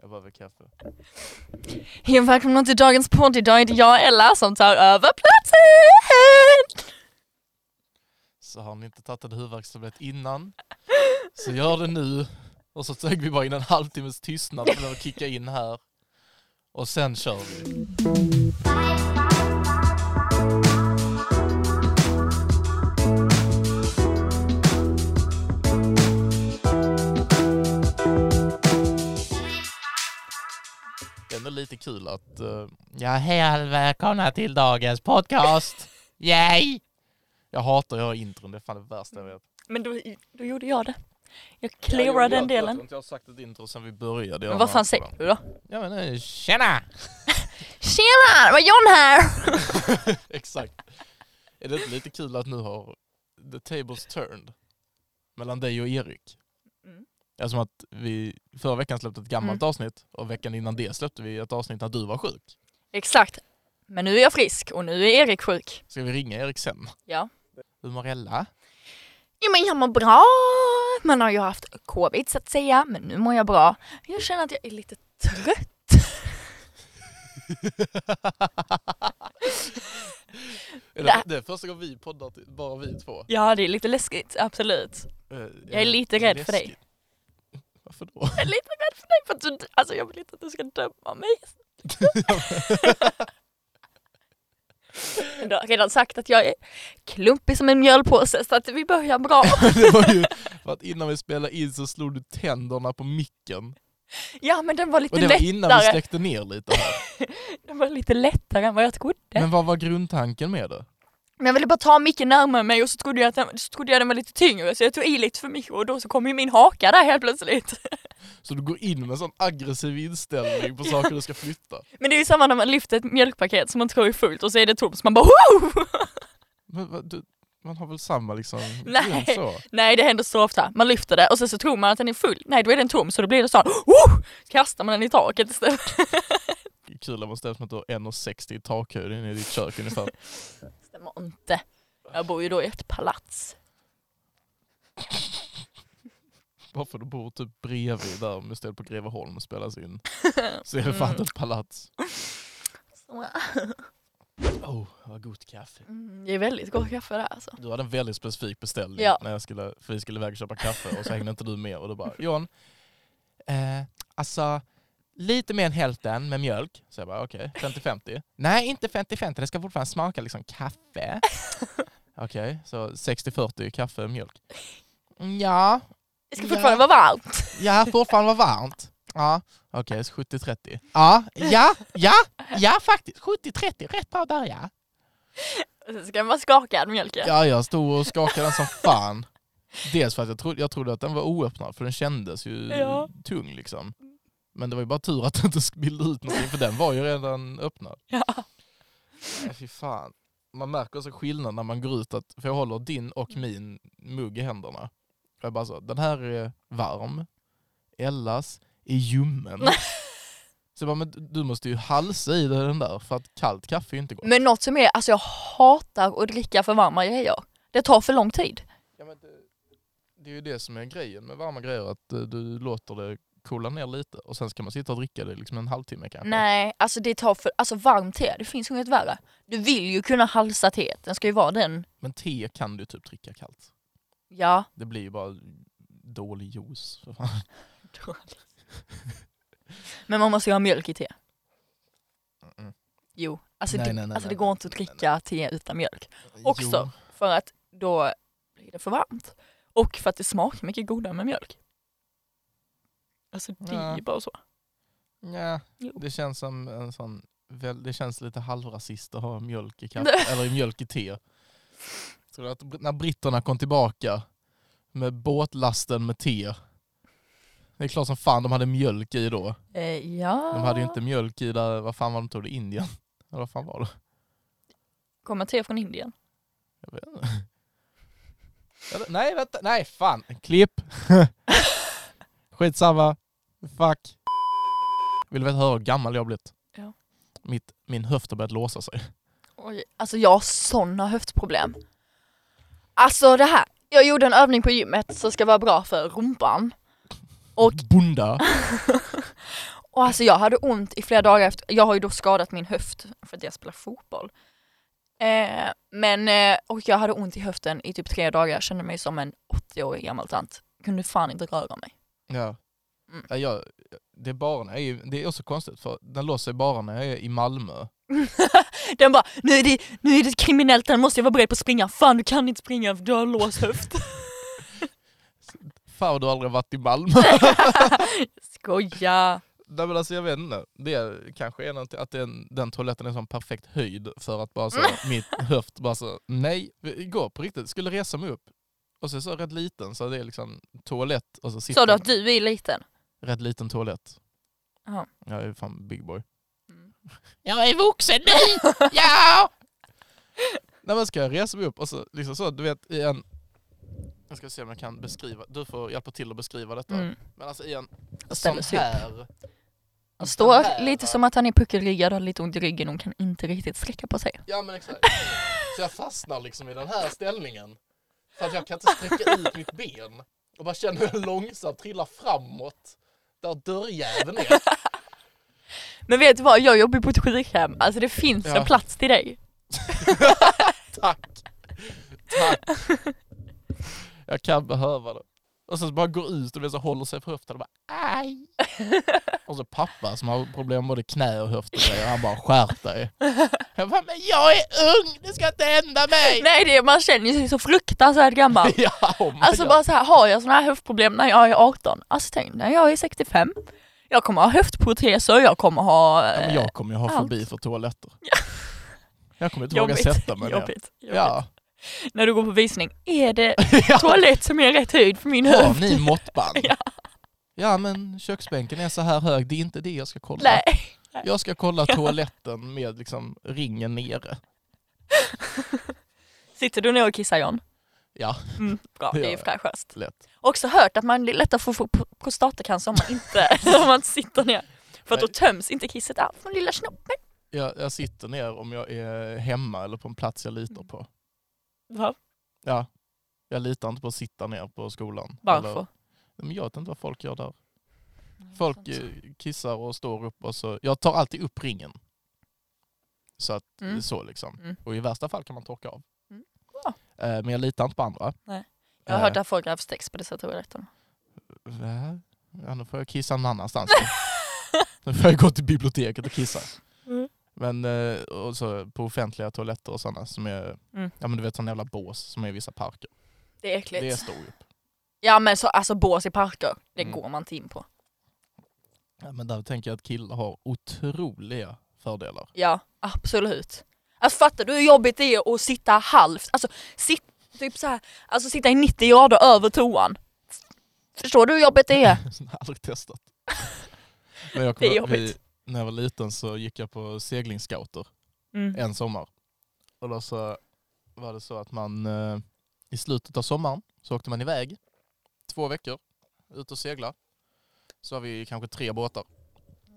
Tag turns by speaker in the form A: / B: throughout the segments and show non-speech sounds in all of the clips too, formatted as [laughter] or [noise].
A: Jag behöver kaffe.
B: Hej och välkomna till dagens podd. Idag är det jag Ella som tar över platsen.
A: Så har ni inte tagit en huvudvärkstablett innan, så gör det nu. Och så sög vi bara in en halvtimmes tystnad för att kicka in här. Och sen kör vi. Det är ändå lite kul att... eh, ja, hej och välkomna till dagens podcast! Yay! Jag hatar att göra intron, det är fan det värsta jag vet.
B: Men då, då gjorde jag det. Jag clearade den
A: Jag tror
B: delen.
A: inte jag har sagt ett intro sen vi började.
B: Men vad fan säger du då?
A: Ja men eh, tjena!
B: Tjena, det var John här.
A: [laughs]
B: [laughs]
A: Exakt. Är det inte lite kul att nu har the tables turned mellan dig och Erik?
B: Mm.
A: Ja, som att vi förra veckan släppte ett gammalt
B: Mm.
A: avsnitt och veckan innan det släppte vi ett avsnitt när du var sjuk.
B: Exakt. Men nu är jag frisk och nu är Erik sjuk.
A: Ska vi ringa Erik sen?
B: Ja.
A: Hur
B: [laughs]
A: mår Ella?
B: Jo men jag mår bra. Man har ju haft covid så att säga, men nu mår jag bra. Jag känner att jag är lite trött. Det-
A: Är det, det är första gången vi poddar, till- bara vi två.
B: Ja, det är lite läskigt, absolut.
A: Eh,
B: Jag är lite rädd för dig.
A: läskigt. [laughs] Varför då?
B: Jag är lite rädd för dig för att du, alltså jag vill inte att du ska döma mig. Men Du har redan sagt att jag är klumpig som en mjölpåse så att vi börjar bra.
A: det var ju för att innan vi spelade in så slog du tänderna på micken.
B: Ja men den var
A: Och
B: lite
A: det var innan vi
B: lättare.
A: släckte ner lite här.
B: Den var lite lättare än vad jag trodde.
A: Men vad var grundtanken med det?
B: Men jag ville bara ta micken närmare mig och så trodde jag att den, så trodde jag att den var lite tyngre så jag tog i lite för mycket och då så kom ju min haka där helt plötsligt.
A: Så du går in med en sån aggressiv inställning på saker du ska flytta.
B: Men det är ju samma när man lyfter ett mjölkpaket som man tror är fullt och så är det tomt så man bara Woo!
A: Men vad, du, man har väl samma liksom...
B: [laughs] Nej.
A: grund Så.
B: Nej det händer så ofta, man lyfter det och sen så tror man att den är full, nej då är den tom så då blir det så här, oh! kastar man den i taket istället. [laughs]
A: Kul att man ställs mot 1,60 i takhöjd inne i ditt kök ungefär.
B: Stämmer inte. Jag bor ju då i ett palats.
A: Varför du bor typ bredvid där om du ställer på Greveholm och
B: [laughs]
A: spelas in. Så är det
B: Mm.
A: fan ett palats.
B: Så,
A: Oh, vad gott kaffe.
B: mm, Det är väldigt gott kaffe det här alltså.
A: Du hade en väldigt specifik beställning
B: Ja.
A: när jag skulle, för vi skulle iväg och köpa kaffe och så hängde inte du med och då bara John, eh, alltså lite mer än hälften med mjölk. Så jag bara okej, 50-50. Nej inte 50-50, det ska fortfarande smaka liksom kaffe. Okej, så 60-40 kaffe och mjölk. Mm, Ja,
B: Det ska
A: Ja.
B: fortfarande vara varmt.
A: ja fortfarande var varmt. Ja, okej så 70-30. Ja, ja, ja, ja faktiskt. 70-30, rätt bra där ja.
B: Och Sen ska den vara skakad mjölken.
A: Ja, jag stod och skakade den som fan. Dels för att jag trodde, jag trodde att den var oöppnad, för den kändes ju
B: Ja.
A: tung liksom. Men det var ju bara tur att den inte spillde ut någonting, för den var ju redan öppnad.
B: Ja.
A: Nej, fy fan. Man märker också skillnad när man går ut, att, för jag håller din och min mugg i händerna. Jag bara så, den här är varm, Ellas
B: [laughs]
A: är ljummen. Så jag bara, men du måste ju halsa i dig den där, för att kallt kaffe är ju inte gott.
B: Men något som är, alltså jag hatar att dricka för varma grejer. Det tar för lång tid.
A: Ja, men det, det är ju det som är grejen med varma grejer, att eh, du låter det coola ner lite och sen ska man sitta och dricka det liksom en halvtimme kanske.
B: Nej, alltså det tar för, alltså varmt te, det finns inget värre. Du vill ju kunna halsa teet, den ska ju vara den,
A: Men te kan du typ dricka kallt.
B: ja.
A: Det blir ju bara dålig juice. [laughs] för fan.
B: Men man måste ju ha mjölk i te.
A: Mm-mm.
B: Jo, alltså,
A: Nej,
B: det,
A: nej, nej,
B: alltså
A: nej,
B: det går
A: nej,
B: inte att
A: nej, nej.
B: dricka te utan mjölk. Också
A: Jo,
B: för att då blir det för varmt. Och för att det smakar mycket godare med mjölk. Alltså det är
A: Ja.
B: ju bara så.
A: nja,
B: Jo.
A: det känns som en sån, väl, det känns lite halvrasist att ha
B: [laughs]
A: mjölk i
B: Nej.
A: kaffe, eller mjölk i te. Tror du att br- när britterna kom tillbaka med båtlasten med te, det är klart som fan de hade mjölk i då.
B: Eh, ja.
A: De hade ju inte mjölk i där, vad fan var de tog det, Indien? [laughs] Eller vad fan var det?
B: Kommer te från Indien?
A: Jag vet inte. Eller, nej vänta, nej fan! Klipp! [laughs] Skitsamma, fuck. Vill du veta höra hur gammal jag har blivit?
B: Ja.
A: Mitt, min höft har börjat låsa sig.
B: Oj, alltså jag har sådana höftproblem. Alltså det här, jag gjorde en övning på gymmet som ska vara bra för rumpan. Och,
A: Bunda.
B: och alltså jag hade ont i flera dagar efter, jag har ju då skadat min höft för att jag spelar fotboll. Eh, men, eh, och jag hade ont i höften i typ tre dagar, jag kände mig som en 80-årig gammal tant. Kunde fan inte röra mig.
A: Ja.
B: Mm.
A: Ja, jag, det är bara när jag är, det är också konstigt för den låser ju bara när jag är i Malmö.
B: Den bara, nu är det, nu är det kriminellt, den måste jag vara beredd på att springa. Fan du kan inte springa för du har låst höft.
A: Fan du har aldrig varit i Malmö.
B: Skoja!
A: Nej men alltså jag vet inte. Det kanske är någonting, att den, den toaletten är som perfekt höjd för att bara så,
B: Mm.
A: [laughs] mitt höft bara så, nej, gå på riktigt, skulle resa mig upp. Och så är jag så rätt liten så det är liksom toalett och så sitter
B: Sa du att du är liten?
A: rätt liten toalett.
B: Jaha.
A: Jag är fan big boy.
B: Mm.
A: [laughs] Jag är vuxen
B: [laughs]
A: nu! ja! Nej men ska jag resa mig upp och så, liksom så, du vet i en, jag ska se om jag kan beskriva, du får hjälpa till att beskriva detta.
B: Mm.
A: Men alltså i en
B: Och
A: sån
B: ställer sig upp.
A: här
B: Han står lite som att han är puckelryggad och har lite ont i ryggen och kan inte riktigt sträcka på sig.
A: Ja men exakt. Så jag fastnar liksom i den här ställningen. För att jag kan inte sträcka ut mitt ben. Och bara känner hur jag långsamt trillar framåt. Där dörrjäveln är.
B: Men vet du vad, jag jobbar ju på ett sjukhem, alltså det finns
A: Ja.
B: en plats till dig.
A: Tack! Tack! Jag kan behöva det. Och sen så bara går ut och det så håller sig på höften och bara aj! Och så pappa som har problem med både knä och höft och grejer, han bara skärp dig. Jag bara, men jag är ung, det ska inte hända mig!
B: Nej det, är- man känner ju sig så fruktansvärt gammal.
A: [laughs] Ja, oh my
B: Alltså
A: God.
B: bara så här, har jag såna här höftproblem när jag är 18? Alltså tänk när jag är 65. Jag kommer ha höftproteser, jag kommer ha...
A: Ja,
B: eh,
A: men jag kommer ju ha
B: allt.
A: fobi för toaletter. Jag kommer inte våga
B: jobbigt,
A: sätta mig ner.
B: eh, jobbigt, jobbigt.
A: Ja. [laughs]
B: När du går på visning, är det
A: ja.
B: toalett som är rätt höjd för min höft?
A: Har ni måttband?
B: [laughs] Ja.
A: Ja, men köksbänken är så här hög, det är inte det jag ska kolla.
B: Nej.
A: Jag ska kolla toaletten med liksom ringen nere.
B: Sitter du ner och kissar John?
A: Ja,
B: Mm, bra,
A: Det
B: det är ju
A: gör jag.
B: fräschast.
A: lätt.
B: Också hört att man det är lättare får få pro- prostatacancer om man inte, [laughs]
A: [laughs]
B: om man inte sitter ner. För att då
A: Nej.
B: töms inte kisset alls från lilla snoppen.
A: Jag, jag sitter ner om jag är hemma eller på en plats jag litar på.
B: Va?
A: Ja. Jag litar inte på att sitta ner på skolan. Eller-
B: Varför?
A: Men jag vet inte vad folk gör där. Folk eh, kissar och står upp och så. Jag tar alltid upp ringen. Så att
B: Mm.
A: så liksom.
B: Mm.
A: Och i värsta fall kan man torka av.
B: Mm. Ja.
A: Eh, Men jag litar inte på andra. Eh,
B: Jag har hört att folk har sex på dessa toaletter.
A: Va? Ja, nu får jag kissa någon annanstans. då. nu får jag gå till biblioteket och kissa.
B: Mm.
A: Men eh, och så på offentliga toaletter och sådana som är,
B: Mm.
A: ja men du vet sådana jävla bås som är i vissa parker.
B: Det är äckligt.
A: Det står ju upp.
B: Ja men så, alltså bås i parker, det
A: Mm.
B: går man inte in på.
A: Ja, men där tänker jag att killar har otroliga fördelar.
B: Ja, absolut. Alltså fattar du hur jobbigt det är att sitta halvt, alltså sit, typ så här, alltså sitta i 90 grader över toan. Förstår du hur jobbigt det
A: [laughs]
B: är?
A: Jag har
B: [laughs]
A: aldrig testat. Men jag
B: Det är
A: kommer-
B: jobbigt.
A: Vi, när jag var liten så gick jag på seglingsscouter
B: Mm.
A: en sommar. Och då så var det så att man eh, i slutet av sommaren så åkte man iväg två veckor ut och segla. Så var vi kanske tre båtar.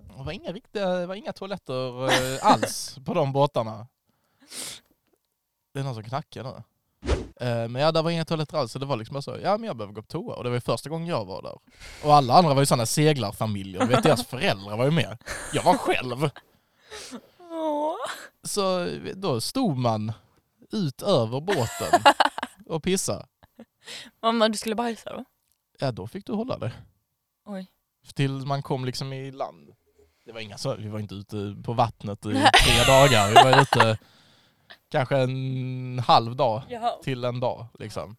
A: Och Det var inga, riktiga, det var inga toaletter eh, alls på de båtarna. Det är någon som knackar nu. Eh, Men ja, där var inga toaletter alls, så det var liksom bara så, ja men jag behöver gå på toa. Och det var ju första gången jag var där. Och alla andra var ju sådana seglarfamiljer, du vet deras föräldrar var ju med. Jag var själv.
B: Åh.
A: Så då stod man ut över båten
B: [laughs]
A: och pissa.
B: Mamma du skulle bajsa då?
A: Ja, då fick du hålla det.
B: Oj.
A: Tills man kom liksom i land. Det var inga så, vi var inte ute på vattnet i tre dagar. Vi var ute kanske en halv dag
B: Jaha.
A: till en dag liksom.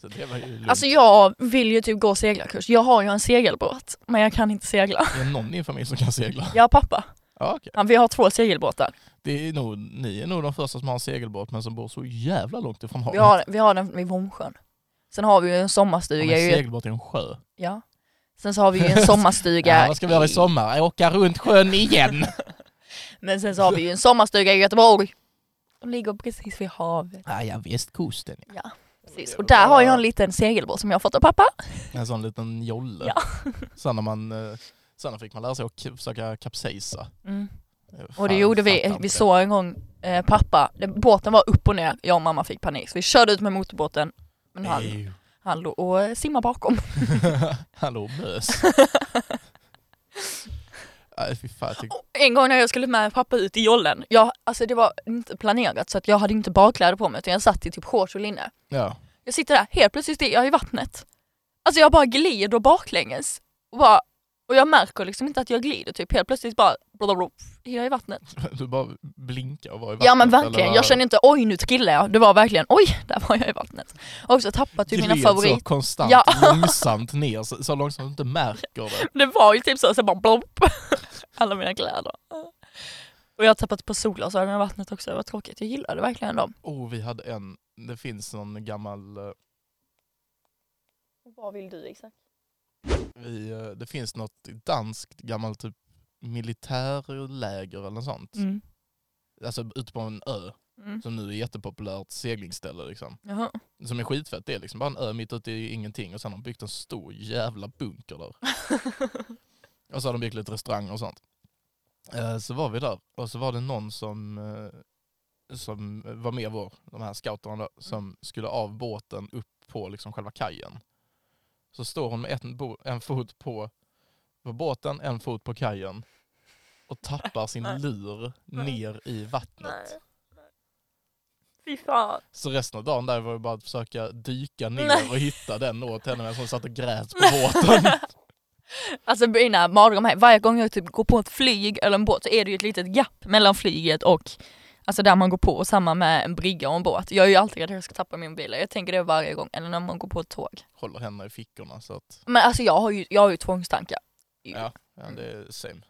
A: Så det var ju lugnt.
B: Alltså jag vill ju typ gå seglarkurs. Jag har ju en segelbåt, men jag kan inte
A: [laughs]
B: segla.
A: Är det någon i din familj som kan segla?
B: Jag och pappa,
A: Ja, okej.
B: han, vi har två segelbåtar.
A: Det är nog, ni är nog de första som har en segelbåt men som bor så jävla långt ifrån havet.
B: Vi har, vi har den vid Vomsjön. Sen har vi ju en
A: Om en
B: sommarstuga. Ju,
A: segelbåt i en sjö.
B: ja. Sen så har vi ju
A: [laughs]
B: en sommarstuga.
A: Ja, vad ska vi göra i sommar? Åka runt sjön igen! [laughs]
B: Men sen så har vi ju en sommarstuga i Göteborg. De ligger precis vid havet.
A: Ja, ja, västkusten.
B: Ja, precis. Och där har jag en liten segelbåt som jag har fått av pappa.
A: En sån liten jolle.
B: Ja.
A: [laughs] Sen, när man, eh, sen när fick man lära sig att k- försöka kapsejsa.
B: Mm. Och det gjorde vi, vi såg en gång eh, pappa, det, båten var upp och ner, jag och mamma fick panik. Så vi körde ut med motorbåten. Men han,
A: Nej.
B: Han låg och eh, simmade bakom.
A: [laughs] Hallå mös.
B: [laughs]
A: Nej fy fan, jag tycker...
B: Och En gång när jag skulle med pappa ut i jollen, jag, alltså det var inte planerat så att jag hade inte badkläder på mig utan jag satt i typ shorts och linne.
A: Ja.
B: Jag sitter där, helt plötsligt är jag i vattnet. Alltså jag bara glider baklänges. Och, bara, och jag märker liksom inte att jag glider typ, helt plötsligt bara blablabla, är jag i vattnet.
A: Du bara blinkar och var i vattnet.
B: Ja men
A: eller
B: verkligen,
A: vad?
B: jag känner inte oj nu trillar jag. Det var verkligen oj, där var jag i vattnet. Och också tappat typ mina
A: Gled så
B: favoriter.
A: konstant
B: Ja.
A: [laughs] långsamt ner, så, så långsamt att du inte märker
B: [laughs]
A: det.
B: Det var ju typ så, så bara blopp. [laughs] Alla mina kläder. Och jag har tappat på solglasögon i vattnet också, det var tråkigt. Jag gillade verkligen dem.
A: Oh, vi hade en, det finns någon gammal, eh,
B: Vad vill du exakt?
A: vi, eh, det finns något danskt gammalt typ militärläger eller något sånt.
B: Mm.
A: Alltså ute på en ö,
B: Mm.
A: som nu är jättepopulärt seglingsställe liksom.
B: Jaha.
A: Som är skitfett, det är liksom bara en ö mitt ute i ingenting och sen har de byggt en stor jävla
B: [laughs]
A: bunker där. Och så har de byggt lite restauranger och sånt. Eh, Så var vi där och så var det någon som, eh, som var med vår, de här scouterna då,
B: Mm.
A: som skulle av båten upp på liksom själva kajen. Så står hon med ett, bo- en fot på, på båten, en fot på kajen och tappar
B: [laughs]
A: sin
B: Nej.
A: lur ner i vattnet.
B: Fy fan.
A: Så resten av dagen där var det bara att försöka dyka ner
B: Nej.
A: och hitta den åt henne medan hon satt och grät på
B: [laughs]
A: båten.
B: Alltså mina mardrömmar här, varje gång jag typ går på ett flyg eller en båt så är det ju ett litet gapp mellan flyget och Alltså där man går på och samma med en brygga och en båt. Jag är ju alltid rädd att jag ska tappa min mobil. Jag tänker det varje gång. Eller när man går på ett tåg.
A: Håller henne i fickorna så att,
B: Men alltså jag har ju, jag har ju tvångstankar.
A: ja, ja det är same.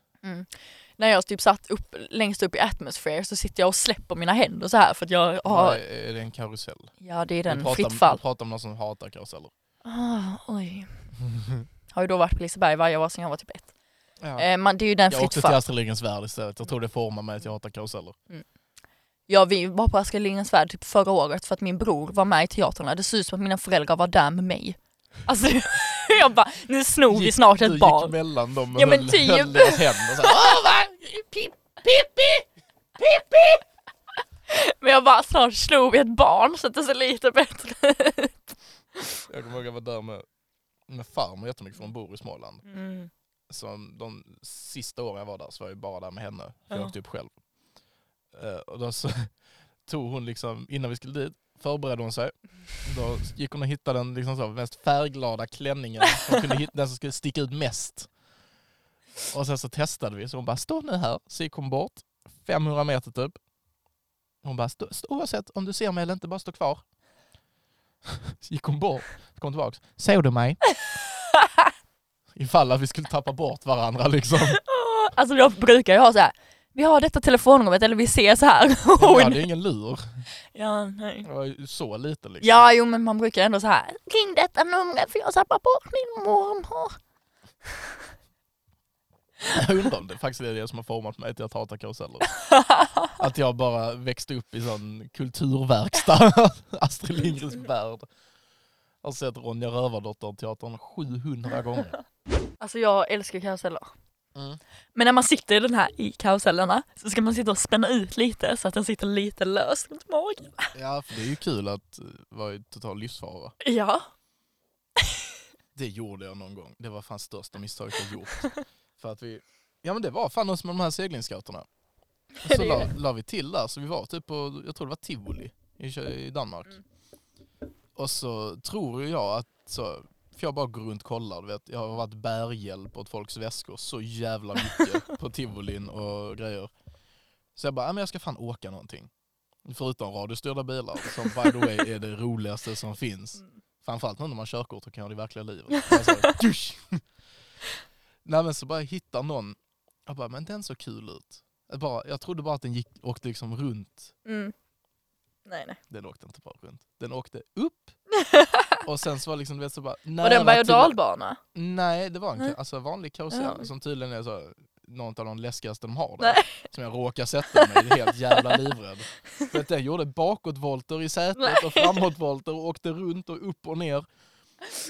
B: När jag typ satt upp, längst upp i atmosfär så sitter jag och släpper mina händer så här för att jag har...
A: Vad är- Är det en karusell?
B: Ja det är
A: vi
B: den,
A: pratar,
B: fritt fall.
A: Vi pratar om någon som hatar karuseller.
B: Ah, oj. Har ju då varit på Liseberg varje år sedan jag var typ ett.
A: Ja.
B: Eh, man, det är ju den
A: jag åkte
B: fritt
A: till
B: fall.
A: Astrid Lindgrens Värld istället. Jag tror det formar mig att jag hatar karuseller.
B: Ja, vi var på Astrid Lindgrens Värld typ förra året för att min bror var med i teatern. Det ser ut som att mina föräldrar var där med mig. Alltså [laughs] jag bara, nu snor vi
A: Gick-
B: Oh, snart
A: du
B: ett barn.
A: gick mellan dem och
B: Ja, men
A: höll,
B: typ.
A: höll deras händer så här, "Åh, va? Pip, Pippi!
B: Men jag bara, snart snor vi ett barn så att det ser lite bättre ut.
A: Jag kommer ihåg jag var där med, med farmor jättemycket för hon bor i Småland. Så de sista åren jag var där så var jag bara där med henne. För jag
B: Ja.
A: åkte upp själv. Eh, och då så [laughs] tog hon liksom, innan vi skulle dit, förberedde hon sig. Då gick hon och hittade den liksom så, mest färgglada klänningen, som kunde hitta, den som skulle sticka ut mest. Och sen så testade vi, så hon bara stå nu här. Så gick hon bort, 500 meter typ. Hon bara stå, stå, oavsett om du ser mig eller inte, bara stå kvar. [laughs] Så gick hon bort, så kom hon tillbaks. Såg du mig? Ifall att vi skulle tappa bort varandra liksom.
B: [laughs] Alltså jag brukar ju ha så här. vi har detta telefonnumret eller vi ses här. [laughs]
A: Jag hade ju ingen lur.
B: ja, nej.
A: Jag var ju så lite liksom.
B: Ja, jo men man brukar ändå så här. ring detta numret för jag tappar bort min mormor.
A: [laughs] Jag undrar om det faktiskt är det som har format mig till att hata karuseller. Att jag bara växte upp i sån kulturverkstad, [laughs] Astrid Lindgrens värld. Jag har sett Ronja Rövardotter-teatern 700 gånger. Mm.
B: Alltså jag älskar karuseller. Men när man sitter i den här i karusellerna så ska man sitta och spänna ut lite så att den sitter lite löst runt magen.
A: Ja, för det är ju kul att eh, vara i total livsfara.
B: Ja.
A: Det gjorde jag någon gång. Det var fan största misstaget jag gjort. För att vi... Ja men det var fan oss med de
B: [laughs]
A: här seglingscouterna. Och Så
B: Det är
A: la,
B: det.
A: la vi till där, så vi var typ på, jag tror det var Tivoli i, Kö- i Danmark.
B: Mm.
A: Och så tror jag att, så, för jag bara går runt och kollar, du vet, jag har varit bärhjälp åt folks väskor så jävla
B: [laughs]
A: mycket på tivolin och grejer. Så jag bara, ja, men jag ska fan åka någonting. Förutom radiostyrda bilar, som by the way är det roligaste som finns. Framförallt nu när man har körkort och kan göra det i verkliga livet. Alltså, dusch! Nej men så bara jag hittar någon, jag bara, men den såg kul ut. Jag, bara, jag trodde bara att den gick, åkte liksom runt,
B: Mm. Nej nej.
A: den åkte inte bara runt. Den åkte upp, och sen så var liksom, du vet så bara, nära
B: Var det en berg och
A: till-
B: dalbana?
A: Nej, det var en
B: Nej.
A: ka- alltså, vanlig karusell
B: Ja.
A: som tydligen är så, någon av de läskigaste de har där.
B: Nej.
A: [laughs] Som jag råkar sätta mig i, helt jävla livrädd. För att den gjorde bakåtvolter i sätet och framåtvolter och åkte runt och upp och ner.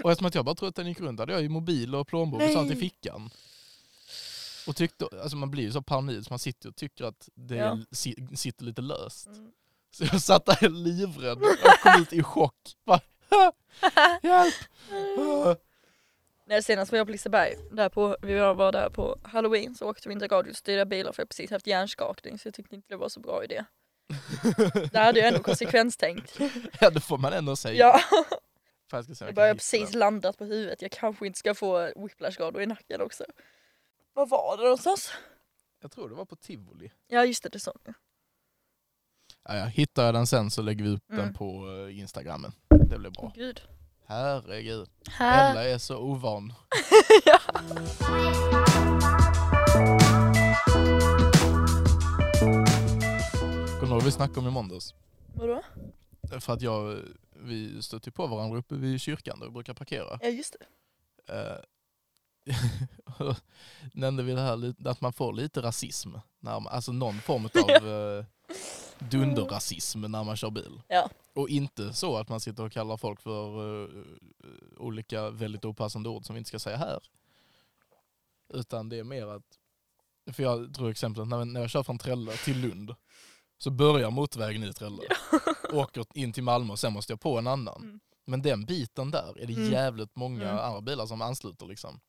A: Och eftersom att jag bara trodde att den gick runt hade jag ju mobil och plånbok och sånt i
B: Nej.
A: fickan. Och tyckte, alltså man blir ju så paranoid så man sitter och tycker att det
B: Ja.
A: si, sitter lite löst.
B: Mm.
A: Så jag satt där helt livrädd och kom ut i chock. Bara,
B: [laughs]
A: Hjälp!
B: När senast var jag på Liseberg, där på, vi var där på halloween så åkte vi inte radiostyrda bilar för jag har precis haft hjärnskakning så jag tyckte inte det var så bra idé. Där hade jag ändå konsekvenstänkt.
A: [laughs] ja, det får man ändå säga.
B: Ja,
A: Fan, jag ska se om
B: jag
A: jag
B: börjar
A: kan hitta
B: precis
A: den.
B: landat på huvudet. Jag kanske inte ska få whiplashskador i nacken också. Vad var det någonstans?
A: Jag tror det var på Tivoli.
B: Ja just det, det sa du.
A: Ja, ja. Hittar jag den sen så lägger vi upp
B: Mm.
A: den på eh, Instagramen. Det blir bra.
B: Gud.
A: Herregud.
B: Här.
A: Ella är så
B: [laughs]
A: ovan. Kommer du ihåg vi snackade om i måndags?
B: Vadå?
A: För att jag, eh, vi stötte på varandra uppe vid kyrkan där vi brukar parkera.
B: Ja just det.
A: Eh, [laughs] och Nämnde vi det här lite- att man får lite rasism, när man, alltså någon form av eh, dunderrasism när man kör bil.
B: Ja.
A: Och inte så att man sitter och kallar folk för eh, olika väldigt opassande ord som vi inte ska säga här. Utan det är mer att, för jag drog exemplet när, när jag kör från Trella till Lund så börjar motorvägen i Trella,
B: [laughs]
A: åker in till Malmö och sen måste jag på en annan.
B: Mm.
A: Men den biten där är det
B: Mm.
A: jävligt många
B: Mm.
A: andra bilar som ansluter liksom.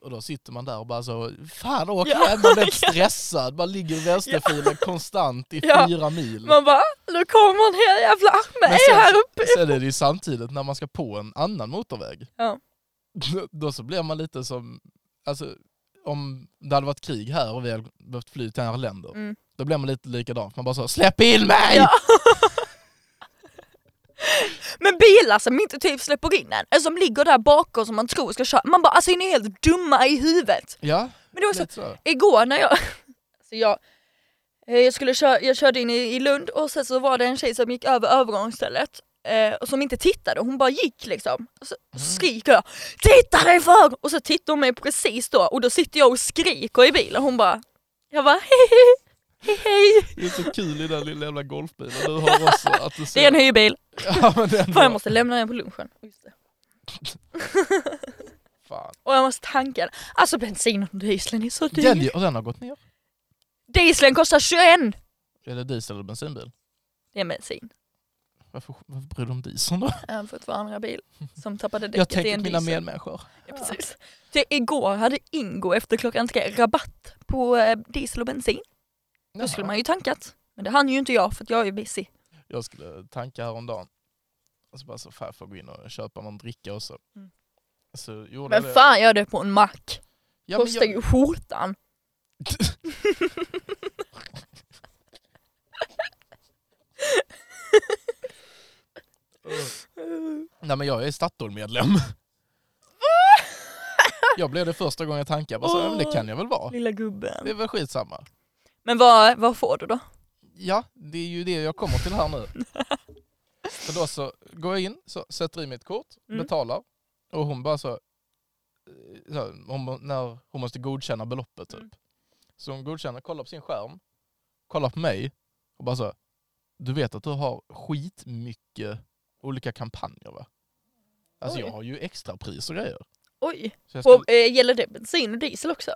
A: Och då sitter man där och bara så, fan
B: [laughs]
A: åk
B: Ja.
A: hem, man blir stressad, man ligger i vänsterfilen
B: [laughs]
A: konstant i
B: Ja.
A: fyra mil.
B: Man bara, nu kommer den här jävla armen
A: Men
B: är
A: sen-
B: här uppe.
A: Sen är det ju samtidigt när man ska på en annan motorväg.
B: Ja.
A: Då- Då så blir man lite som, alltså om det hade varit krig här och vi hade behövt fly till andra länder,
B: Mm.
A: då blir man lite likadan. Man bara så, släpp in mig!
B: Ja. Men bilar som inte typ släpper in en, eller som ligger där bakom som man tror ska köra. Man bara alltså är ni helt dumma i huvudet? [laughs]
A: ja
B: Men det var så,
A: lite så.
B: igår när jag... Alltså jag, eh, jag, skulle köra, jag körde in i, i Lund och sen så var det en tjej som gick över övergångsstället eh, och som inte tittade, hon bara gick liksom. Och så skriker jag “Titta dig för!” och så tittar hon mig precis då och då sitter jag och skriker i bilen. Hon bara... Jag bara hej hej, hej hej.
A: Det är så kul i den lilla jävla golfbilen du har också. Att du
B: [laughs] Det är en hyrbil.
A: [laughs] Ja, men det är ändå-
B: Fan jag måste lämna den på lunchen. Just det.
A: Fan.
B: Och jag måste tanka den. Alltså bensin och dieseln är så dyr.
A: Den, och den har gått ner.
B: Dieseln kostar 21!
A: Är det diesel eller bensinbil?
B: Det är bensin.
A: Varför, varför bryr du om dieseln då?
B: Även för att vara andra bil som tappade däcket
A: Jag
B: i
A: tänker
B: en
A: på mina
B: diesel.
A: medmänniskor.
B: Ja, precis. Det, igår hade Ingo efter klockan tre rabatt på eh, diesel och bensin. Då skulle man ju tankat. Men det hann ju inte jag för att jag är ju busy.
A: Jag skulle tanka häromdagen. Och så bara så, fan jag får gå in och köpa någon dricka också.
B: Mm.
A: Så gjorde jag
B: Men fan gör det på en mack?
A: det. Ja, men
B: Kostar
A: jag-
B: ju skjortan.
A: [laughs] Nej men jag är Statoil-medlem. jag blev det första gången jag tankade. Jag bara, så, ja, men det kan jag väl vara.
B: Lilla
A: Det är
B: gubben.
A: väl skitsamma.
B: Men vad, vad får du då?
A: Ja, det är ju det jag kommer till
B: [laughs]
A: här nu. Så då så går jag in, så sätter i mitt kort,
B: Mm.
A: betalar och hon bara så, eh, så här, hon, må- när hon måste godkänna beloppet typ.
B: Mm.
A: Så hon godkänner, kollar på sin skärm, kollar på mig och bara så, du vet att du har skitmycket olika kampanjer va? Alltså
B: Oj.
A: jag har ju extra pris och grejer.
B: Oj,
A: Så jag
B: på,
A: ska,
B: eh, gäller det bensin och diesel också?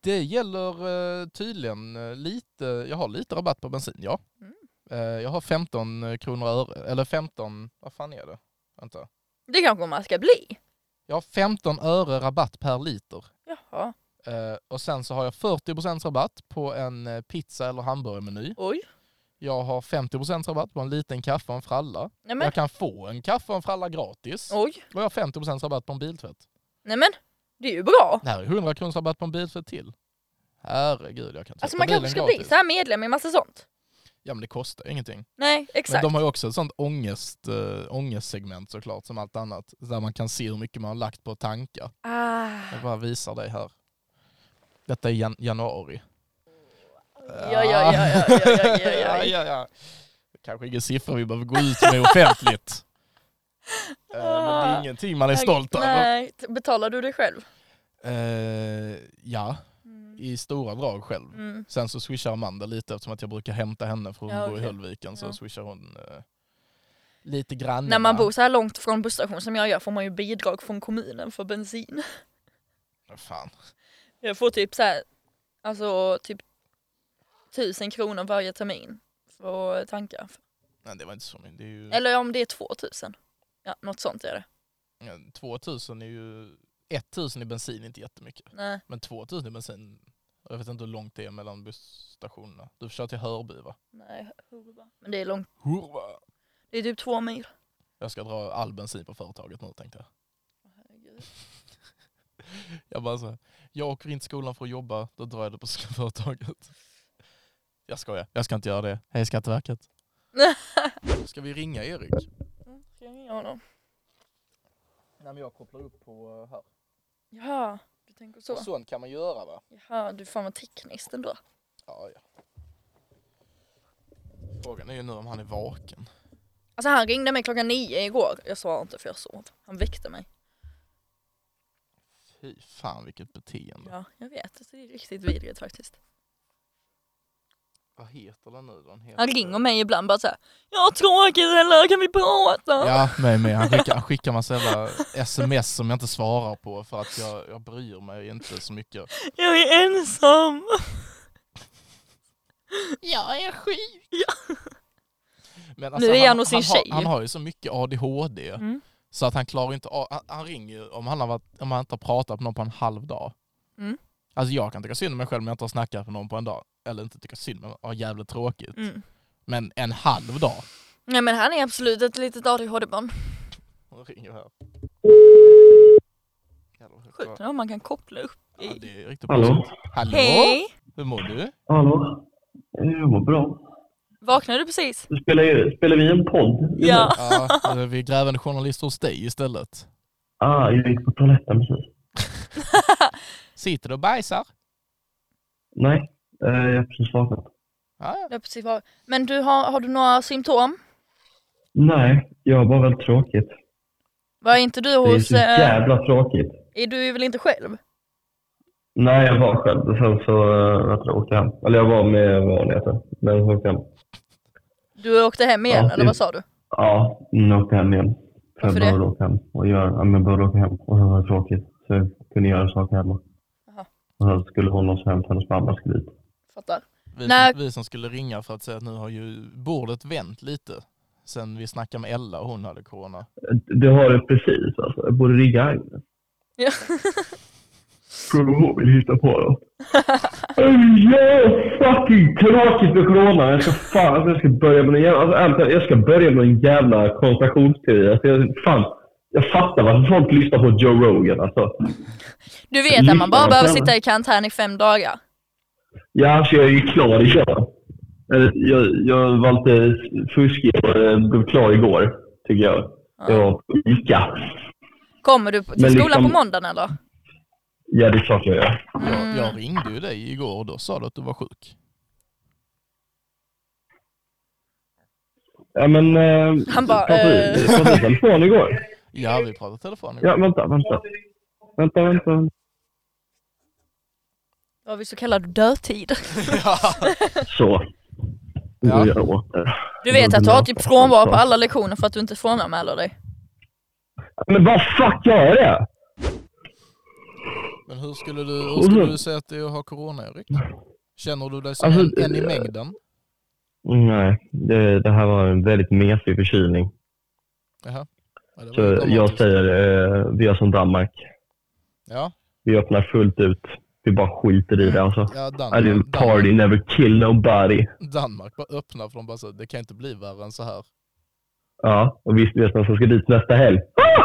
A: det gäller eh, tydligen eh, lite, jag har lite rabatt på bensin ja.
B: Mm.
A: Eh, jag har 15 kronor och öre, eller 15, vad fan är det? Vänta.
B: Det kanske man ska bli.
A: Jag har 15 öre rabatt per liter.
B: Jaha,
A: Eh, och sen så har jag 40 rabatt på en eh, pizza eller hamburgermeny.
B: oj.
A: Jag har 50 rabatt på en liten kaffe och en fralla.
B: Nej
A: Jag
B: men,
A: kan få en kaffe och en fralla gratis.
B: oj.
A: Och jag har 50 rabatt på en biltvätt.
B: Nej men, det är ju bra.
A: Det här är 100 kronors rabatt på en biltvätt till. Herregud, jag kan tvätta
B: Alltså man kanske
A: bilen
B: ska
A: gratis.
B: bli så här medlem i massa sånt.
A: Ja men det kostar ju ingenting.
B: Nej, exakt.
A: Men de har ju också ett sånt ångest, äh, ångestsegment såklart, som allt annat. Där man kan se hur mycket man har lagt på att tanka.
B: Ah.
A: Jag bara visar dig här. Detta är jan januari.
B: Ja, ja, ja, ja, ja, ja, ja, ja.
A: [laughs] ja, ja. Det kanske inga siffror vi behöver gå ut med offentligt. Eh, Men
B: Ah.
A: det är ingenting man är stolt över.
B: Nej, t- betalar du det själv?
A: Eh, ja,
B: Mm.
A: i stora drag själv.
B: Mm.
A: Sen så swishar Amanda lite eftersom att jag brukar hämta henne för hon
B: Ja,
A: bor i
B: okej.
A: Höllviken så
B: Ja.
A: swishar hon eh, lite grann.
B: När man bor så här långt från busstation som jag gör får man ju bidrag från kommunen för bensin.
A: Fan.
B: Jag får typ så här, alltså typ tusen kronor varje termin för att tanka.
A: Nej, det var inte så mycket. Det är ju...
B: Eller om det är två tusen. Ja, något sånt är det.
A: Ja, 2000 är ju... 1000 i bensin är inte jättemycket.
B: Nej.
A: Men 2000 i bensin, jag vet inte hur långt det är mellan busstationerna. Du kör till Hörby va?
B: Nej, hurva. Men det är långt.
A: Hurra!
B: Det är typ två mil.
A: Jag ska dra all bensin på företaget nu tänkte jag.
B: Herregud.
A: Jag bara så här, jag åker in till skolan för att jobba, då drar jag det på [laughs] företaget. Jag skojar, jag ska inte göra det. Hej Skatteverket. Ska vi ringa Erik?
B: Mm, Ska jag ringa honom?
A: Nej men jag kopplar upp på eh, här.
B: Jaha, du tänker så.
A: Sånt kan man göra va?
B: Jaha, du fan vad tekniskt ändå.
A: Ja, ja. Frågan är ju nu om han är vaken.
B: Alltså han ringde mig klockan nio igår. Jag svarade inte för jag sov. Han väckte mig.
A: Fy fan vilket beteende.
B: Ja, jag vet. Alltså, Det är riktigt vidrigt faktiskt.
A: Vad heter den nu då? Den heter...
B: Han ringer mig ibland bara såhär. Jag har tråkigt eller kan vi prata?
A: Ja, mig med. Han skickar, han skickar massa jävla sms som jag inte svarar på för att jag, jag bryr mig inte så mycket.
B: Jag är ensam.
A: Jag är sjuk! Men alltså,
B: Nu är han hos
A: han,
B: sin
A: har-
B: tjej.
A: han har ju så mycket ADHD
B: Mm.
A: så att han klarar inte av, han, han ringer ju om han, har varit, om han inte har pratat med någon på en halv dag.
B: Mm.
A: Alltså jag kan tycka synd om mig själv om jag inte har snackat med någon på en dag. Eller inte tycka synd om mig, ha jävligt tråkigt.
B: Mm.
A: Men en halv dag.
B: Nej men han är absolut ett litet ADHD-barn.
A: Hon ringer här. Jävlar, vad
B: Sjukt om man kan koppla upp i.
A: Ja, det är riktigt bra.
C: Hallå?
A: Hallå?
B: Hej!
A: Hur mår du?
C: Hallå? Eh, Jag mår bra.
B: Vaknade du precis?
C: Spelar, ju- spelar vi en podd?
B: Ja.
A: Ja, eh, vi är grävande journalister hos dig istället.
C: Ah, jag gick på toaletten precis.
A: Sitter du och bajsar?
C: Nej, eh, jag har precis vaknat.
A: Ja, ja.
B: Jag har precis var... Men du har, har du några symptom?
C: Nej, jag har bara väldigt tråkigt.
B: Var inte du
C: Det är
B: hos...
C: så
B: eh,
C: jävla tråkigt.
B: är du väl inte själv?
C: Nej, jag var själv och sen så eh, vet du, åkte jag hem. Eller jag var med vanligheten, men så åkte jag hem.
B: Du åkte hem igen
C: Ja,
B: eller
C: det-
B: vad sa du?
C: Ja, nu åkte jag hem igen. För
B: Varför
C: jag
B: det?
C: behövde åka hem och göra, ja, men jag behövde åka hem och sen var det tråkigt. Så jag kunde göra saker hemma.
B: Jaha.
C: Och sen skulle hon också hämta hennes mamma skulle dit.
B: Fattar.
A: Vi,
B: Nej.
A: vi som skulle ringa för att säga att nu har ju bordet vänt lite. Sen vi snackade med Ella och hon hade corona.
C: Det har det precis alltså. Jag borde ringa Agnes.
B: Ja.
C: [laughs] Fråga om hon vill hitta på något. Jag fucking tråkigt med corona. Jag ska fan alltså, jag ska börja med en jävla, alltså, ärligt talat, jag ska börja med en jävla konspirationsteori. Alltså, jag, fan, jag fattar varför folk lyssnar på Joe Rogan alltså.
B: Du vet att man bara
C: Lyssna,
B: behöver
C: snälla.
B: sitta i karantän i fem dagar.
C: Ja, alltså jag är ju klar idag. Eller, Jag, jag var lite fuskig och eh, blev klar igår, tycker jag. Jag var på Ica.
B: Kommer du på- till
C: Men
B: skolan
C: liksom-
B: på måndagen eller?
C: Ja, det är klart jag gör.
A: Jag,
B: Mm.
A: jag ringde ju dig igår och då sa du att du var sjuk.
C: Ja, men... Eh,
B: Han bara,
C: Pratade
B: eh.
C: vi pratade vi telefon igår?
A: Ja, vi pratade telefon igår.
C: Ja, vänta, vänta. Vänta, vänta.
B: Då har vi så kallad dödtid.
A: Ja.
C: Så. Nu
A: Ja.
C: är jag åter.
B: Du vet att du har typ frånvaro på
C: Ja.
B: alla lektioner för att du inte frånanmäler dig.
C: Men vad fuck gör jag?
A: [laughs] Men hur skulle du, hur skulle du säga att det är att ha corona, Erik? Känner du dig som
C: Alltså,
A: en, en i
C: eh,
A: mängden?
C: Mm, Nej, det, det här var en väldigt mesig förkylning.
A: Jaha. Ja, det var
C: Så
A: lite
C: jag
A: dramatiskt.
C: säger, eh, vi gör som Danmark.
A: Ja,
C: Vi öppnar fullt ut. Vi bara skiter i det alltså.
A: ja
C: I didn't
A: Danmark,
C: party,
A: Danmark,
C: never kill nobody.
A: Danmark bara öppnar för de bara säger det kan inte bli värre än så här.
C: Ja, och visst vet man som ska dit nästa helg. Ah!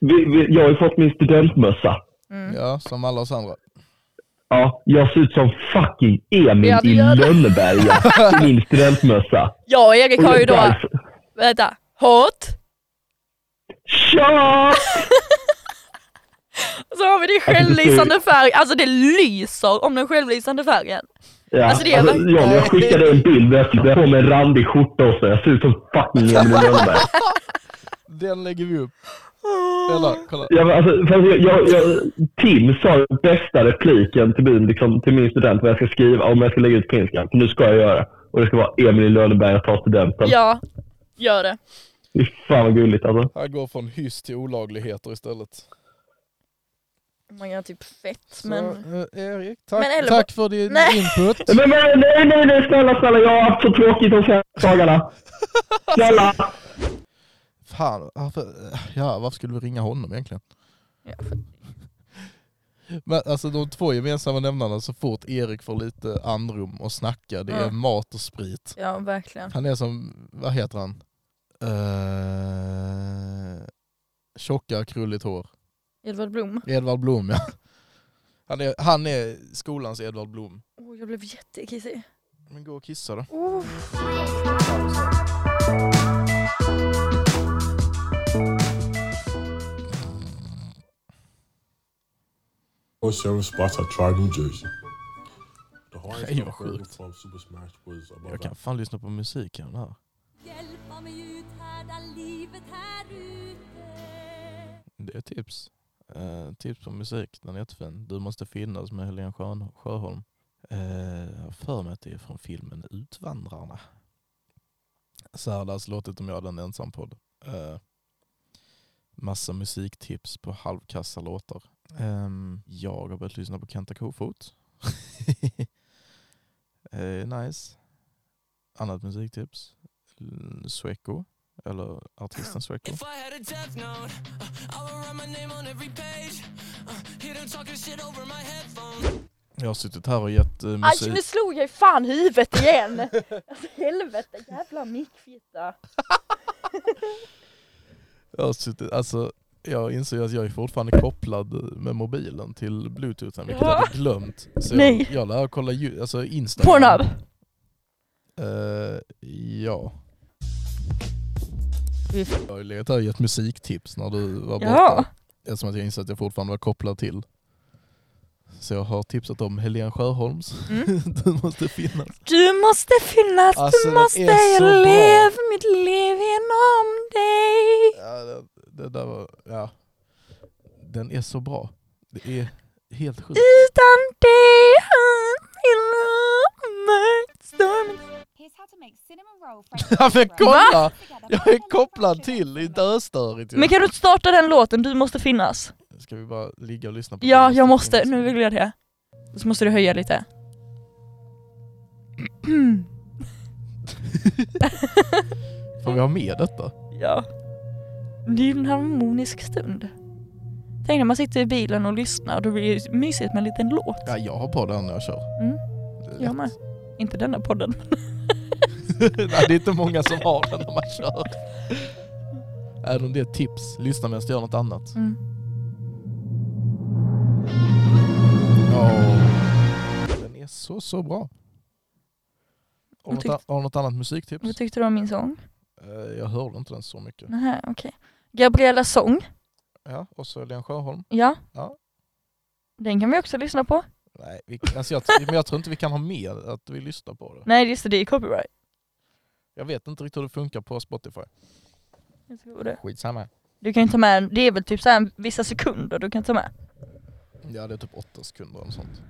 C: Vi, vi, jag har ju fått min studentmössa.
B: Mm.
A: Ja, som alla oss andra.
C: Ja, jag ser ut som fucking Emil
B: Ja, du
C: i
B: gör det.
C: Lönneberga
B: [laughs]
C: i min studentmössa.
B: Jag och Erik har ju
C: Och jag-
B: då, vänta, hot.
C: Tja!
B: Så har vi det i
C: det
B: självlysande färg, alltså det lyser om den självlysande färgen.
C: Ja,
B: Alltså, det är väl-
C: John, jag skickade en bild där jag sitter på med en randig skjorta och så. Jag ser ut som fucking Emil
B: [laughs]
C: i Lönneberga.
A: Den lägger vi upp. Eller, kolla.
C: Ja, men alltså, fast jag, jag, jag, Tim sa den bästa repliken till min, liksom, till min student vad jag ska skriva om jag ska lägga ut på Instagram. Nu ska jag göra. Och det ska vara Emil i Lönneberga tar studenten.
B: Ja, gör det.
C: Fy fan vad gulligt alltså.
A: Här går från hyss till olagligheter istället.
B: Man gör typ fett men...
A: eh, Erik, tack,
B: Men eller-
A: tack för din
B: Nej.
A: input.
C: [laughs] Men, men nej,
B: [laughs]
C: nej, nej, snälla, snälla. Jag har haft så tråkigt de senaste dagarna. Snälla.
A: Fan, varför, ja, varför skulle vi ringa honom egentligen?
B: Ja, för...
A: Men alltså de två gemensamma nämnarna så fort Erik får lite andrum och snacka, det är
B: Mm.
A: mat och sprit.
B: ja verkligen.
A: Han är som, vad heter han? Eh, Uh, tjocka, krulligt hår.
B: Edvard Blom.
A: Edvard Blom ja. Han är, han är skolans Edvard Blom.
B: Oh, jag blev jättekissig.
A: Men gå och kissa då.
B: Oh.
D: All seven Oh, spots I tried in New Jersey. The hardest
A: Hey,
D: part
A: you're
D: burger
A: hooked.
D: from Super Smash was
A: Jag
D: above
A: kan fan lyssna på musik här. nu.
E: Hjälpa mig uthärda livet här ute
A: Det är tips. Eh, tips på musik, den är jättefin. Du måste finnas med Helene Sjön, Sjöholm. Eh, jag har för mig att det är från filmen Utvandrarna. Särdas låtet om jag hade en ensam podd. Eh, massa musiktips på halvkassa låtar. Ehm, jag har börjat lyssna på Kenta Kofot. [laughs] eh, nice. Annat musiktips. Mm, Sweco, eller artisten Sweco.
F: If I had a death note, uh, I would write my name on every page. Uh, hear them talking shit over my headphones.
A: Jag har suttit här och gett eh,
B: Aj,
A: musik.
B: Alltså, nu slog jag i fan huvudet
A: [laughs]
B: igen! alltså helvete, jävla mickfitta.
A: Jag, har suttit, alltså, jag inser att jag är fortfarande kopplad med mobilen till bluetoothen, vilket jag hade glömt. Så
B: Nej.
A: jag, jag lär kolla ju- alltså Instagram.
B: Pornhub!
A: Eh, ja.
B: Vi-
A: Jag har ju legat här och gett musiktips när du var borta.
B: Ja.
A: Eftersom att jag insåg att jag fortfarande var kopplad till. Så jag har tipsat om Helene Sjöholms.
B: Mm.
A: [laughs] du måste finnas.
B: Du måste finnas,
A: Alltså,
B: du
A: den
B: måste
A: är så bra.
B: leva mitt liv inom dig.
A: Ja, det, det där var, ja. Den är så bra. Det är helt sjukt.
B: Utan dig hade mig stormen.
E: Here's how to make cinnamon roll
A: [laughs] Ja men kolla! Jag är kopplad
E: kopplad
A: till, det är döstörigt ju.
B: Men kan du inte starta den låten, du måste finnas?
A: Ska vi bara ligga och lyssna på
B: Ja,
A: det?
B: jag måste, nu vill jag det. Och så måste du höja lite. [clears throat]
A: Mm. Får vi ha med detta?
B: Ja. Det är ju en harmonisk stund. Tänk när man sitter i bilen och lyssnar, då blir det ju mysigt med en liten låt.
A: Ja, jag har på den när jag kör.
B: Mm.
A: Det är
B: Jag med.
A: lätt.
B: Inte denna podden.
A: [laughs] Nej, det är inte många som har den när man kör. Även om det är ett tips, lyssna medan du gör något annat.
B: Mm. Mm.
A: Ja. Den är så, så bra. Har
B: Jag
A: du
B: tyckte-
A: något, har du något annat musiktips?
B: Vad tyckte du om min sång?
A: Eh, Jag hörde inte den så mycket.
B: Nähä, okej. Gabriella sång,
A: Ja, och så Helene Sjöholm.
B: ja.
A: Ja.
B: Den kan vi också lyssna på.
A: Nej, vi, alltså jag, men jag tror inte vi kan ha med att vi lyssnar på det.
B: Nej just det, det är copyright.
A: Jag vet inte riktigt hur det funkar på Spotify.
B: Jag tror det.
A: Skitsamma.
B: Du kan ju ta med, det är väl typ så här vissa sekunder du kan ta med.
A: Ja, det är typ åtta sekunder eller sånt.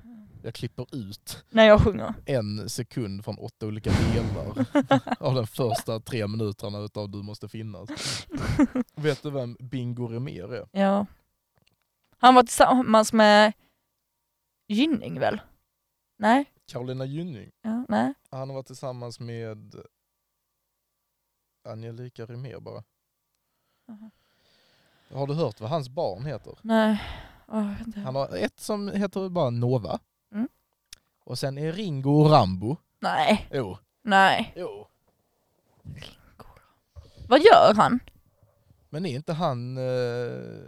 A: Jag klipper ut
B: När jag sjunger.
A: en sekund från åtta olika delar [laughs] av den första tre minuterna utav Du måste finnas. Vet du vem Bingo Rimér är?
B: [laughs] Ja. Han var tillsammans med Gynning väl? Nej?
A: Carolina Gynning.
B: Ja, nej.
A: Han har varit tillsammans med Angelica Rimér bara.
B: Jaha.
A: Har du hört vad hans barn heter?
B: Nej. Åh, jag vet inte.
A: Han har ett som heter bara Nova.
B: Mm.
A: Och sen är Ringo och Rambo.
B: Nej.
A: Jo.
B: Nej.
A: jo.
B: Vad gör han?
A: Men är inte han... eh,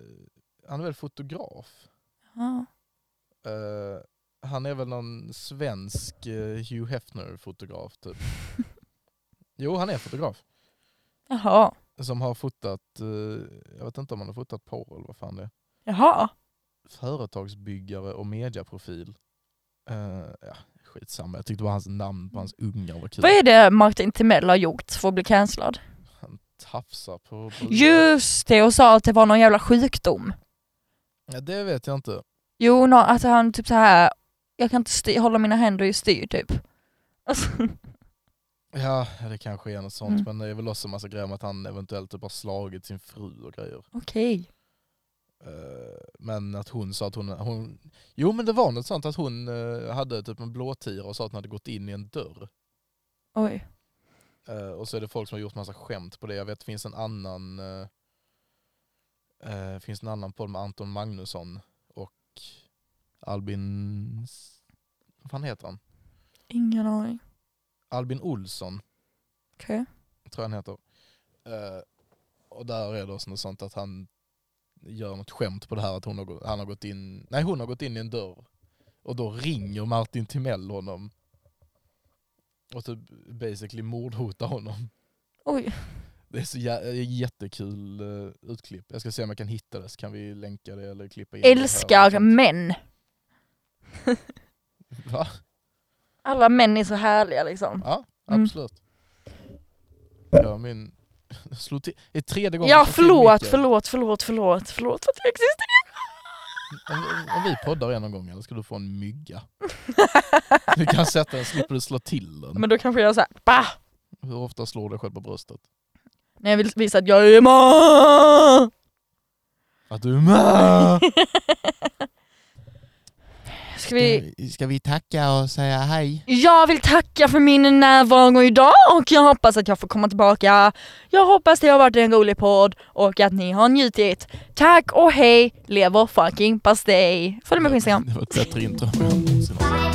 A: han är väl fotograf?
B: Ja. [laughs]
A: Eh, han är väl någon svensk eh, Hugh Hefner-fotograf typ. jo, han är fotograf.
B: Jaha.
A: Som har fotat... eh, jag vet inte om han har fotat porr eller vad fan det är.
B: Jaha.
A: Företagsbyggare och mediaprofil. Eh, ja, skitsamma. Jag tyckte bara hans namn på hans ungar var kul.
B: Vad är det Martin Timell har gjort för att bli cancellad?
A: Tafsa på... på
B: Just det, och sa att det var någon jävla sjukdom.
A: Ja, det vet jag inte.
B: Jo, nå- att han typ så här. jag kan inte styr, hålla mina händer i styr typ. [laughs] Alltså,
A: Ja, det kanske är något sånt.
B: Mm.
A: Men det är väl också en massa grejer om att han eventuellt typ har slagit sin fru och grejer.
B: okej.
A: Eh, Men att hon sa att hon, hon... Jo men det var något sånt att hon eh, hade typ en blåtira och sa att hon hade gått in i en dörr.
B: Oj.
A: Eh, och så är det folk som har gjort massa skämt på det. Jag vet det finns en annan eh, eh, finns en annan podd med Anton Magnusson och Albin... S- Vad fan heter han?
B: Ingen aning.
A: Albin Olsson.
B: Okej.
A: tror jag han heter. Eh, och där är det också något sånt att han gör något skämt på det här att hon har, gå- han har gått in, nej hon har gått in i en dörr. Och då ringer Martin Timell honom. Och typ basically mordhotar honom.
B: Oj.
A: Det är så jä- jättekul eh, utklipp. Jag ska se om jag kan hitta det så kan vi länka det eller klippa in det här.
B: Älskar män.
A: Va?
B: Alla män är så härliga liksom.
A: Ja,
B: Mm.
A: absolut. Ja, min... [laughs] Slå till... Det är tredje gången
B: Ja
A: jag slår till
B: förlåt,
A: micken.
B: förlåt, förlåt, förlåt, förlåt för att jag existerar.
A: Om, om vi poddar en gång eller ska du få en mygga? Du kan sätta den, slipper du slå till den.
B: Men då kanske jag såhär, bah!
A: Hur ofta slår du dig själv på bröstet?
B: När jag vill visa att jag är man!
A: Att du är med!
B: Ska vi...
A: Ska vi tacka och säga hej?
B: Jag vill tacka för min närvaro idag och jag hoppas att jag får komma tillbaka. Jag hoppas det har varit en rolig podd och att ni har njutit. Tack och hej, lever fucking pastej! Följ mig på Instagram.
A: Det var ett bättre intro än vad jag någonsin har sett.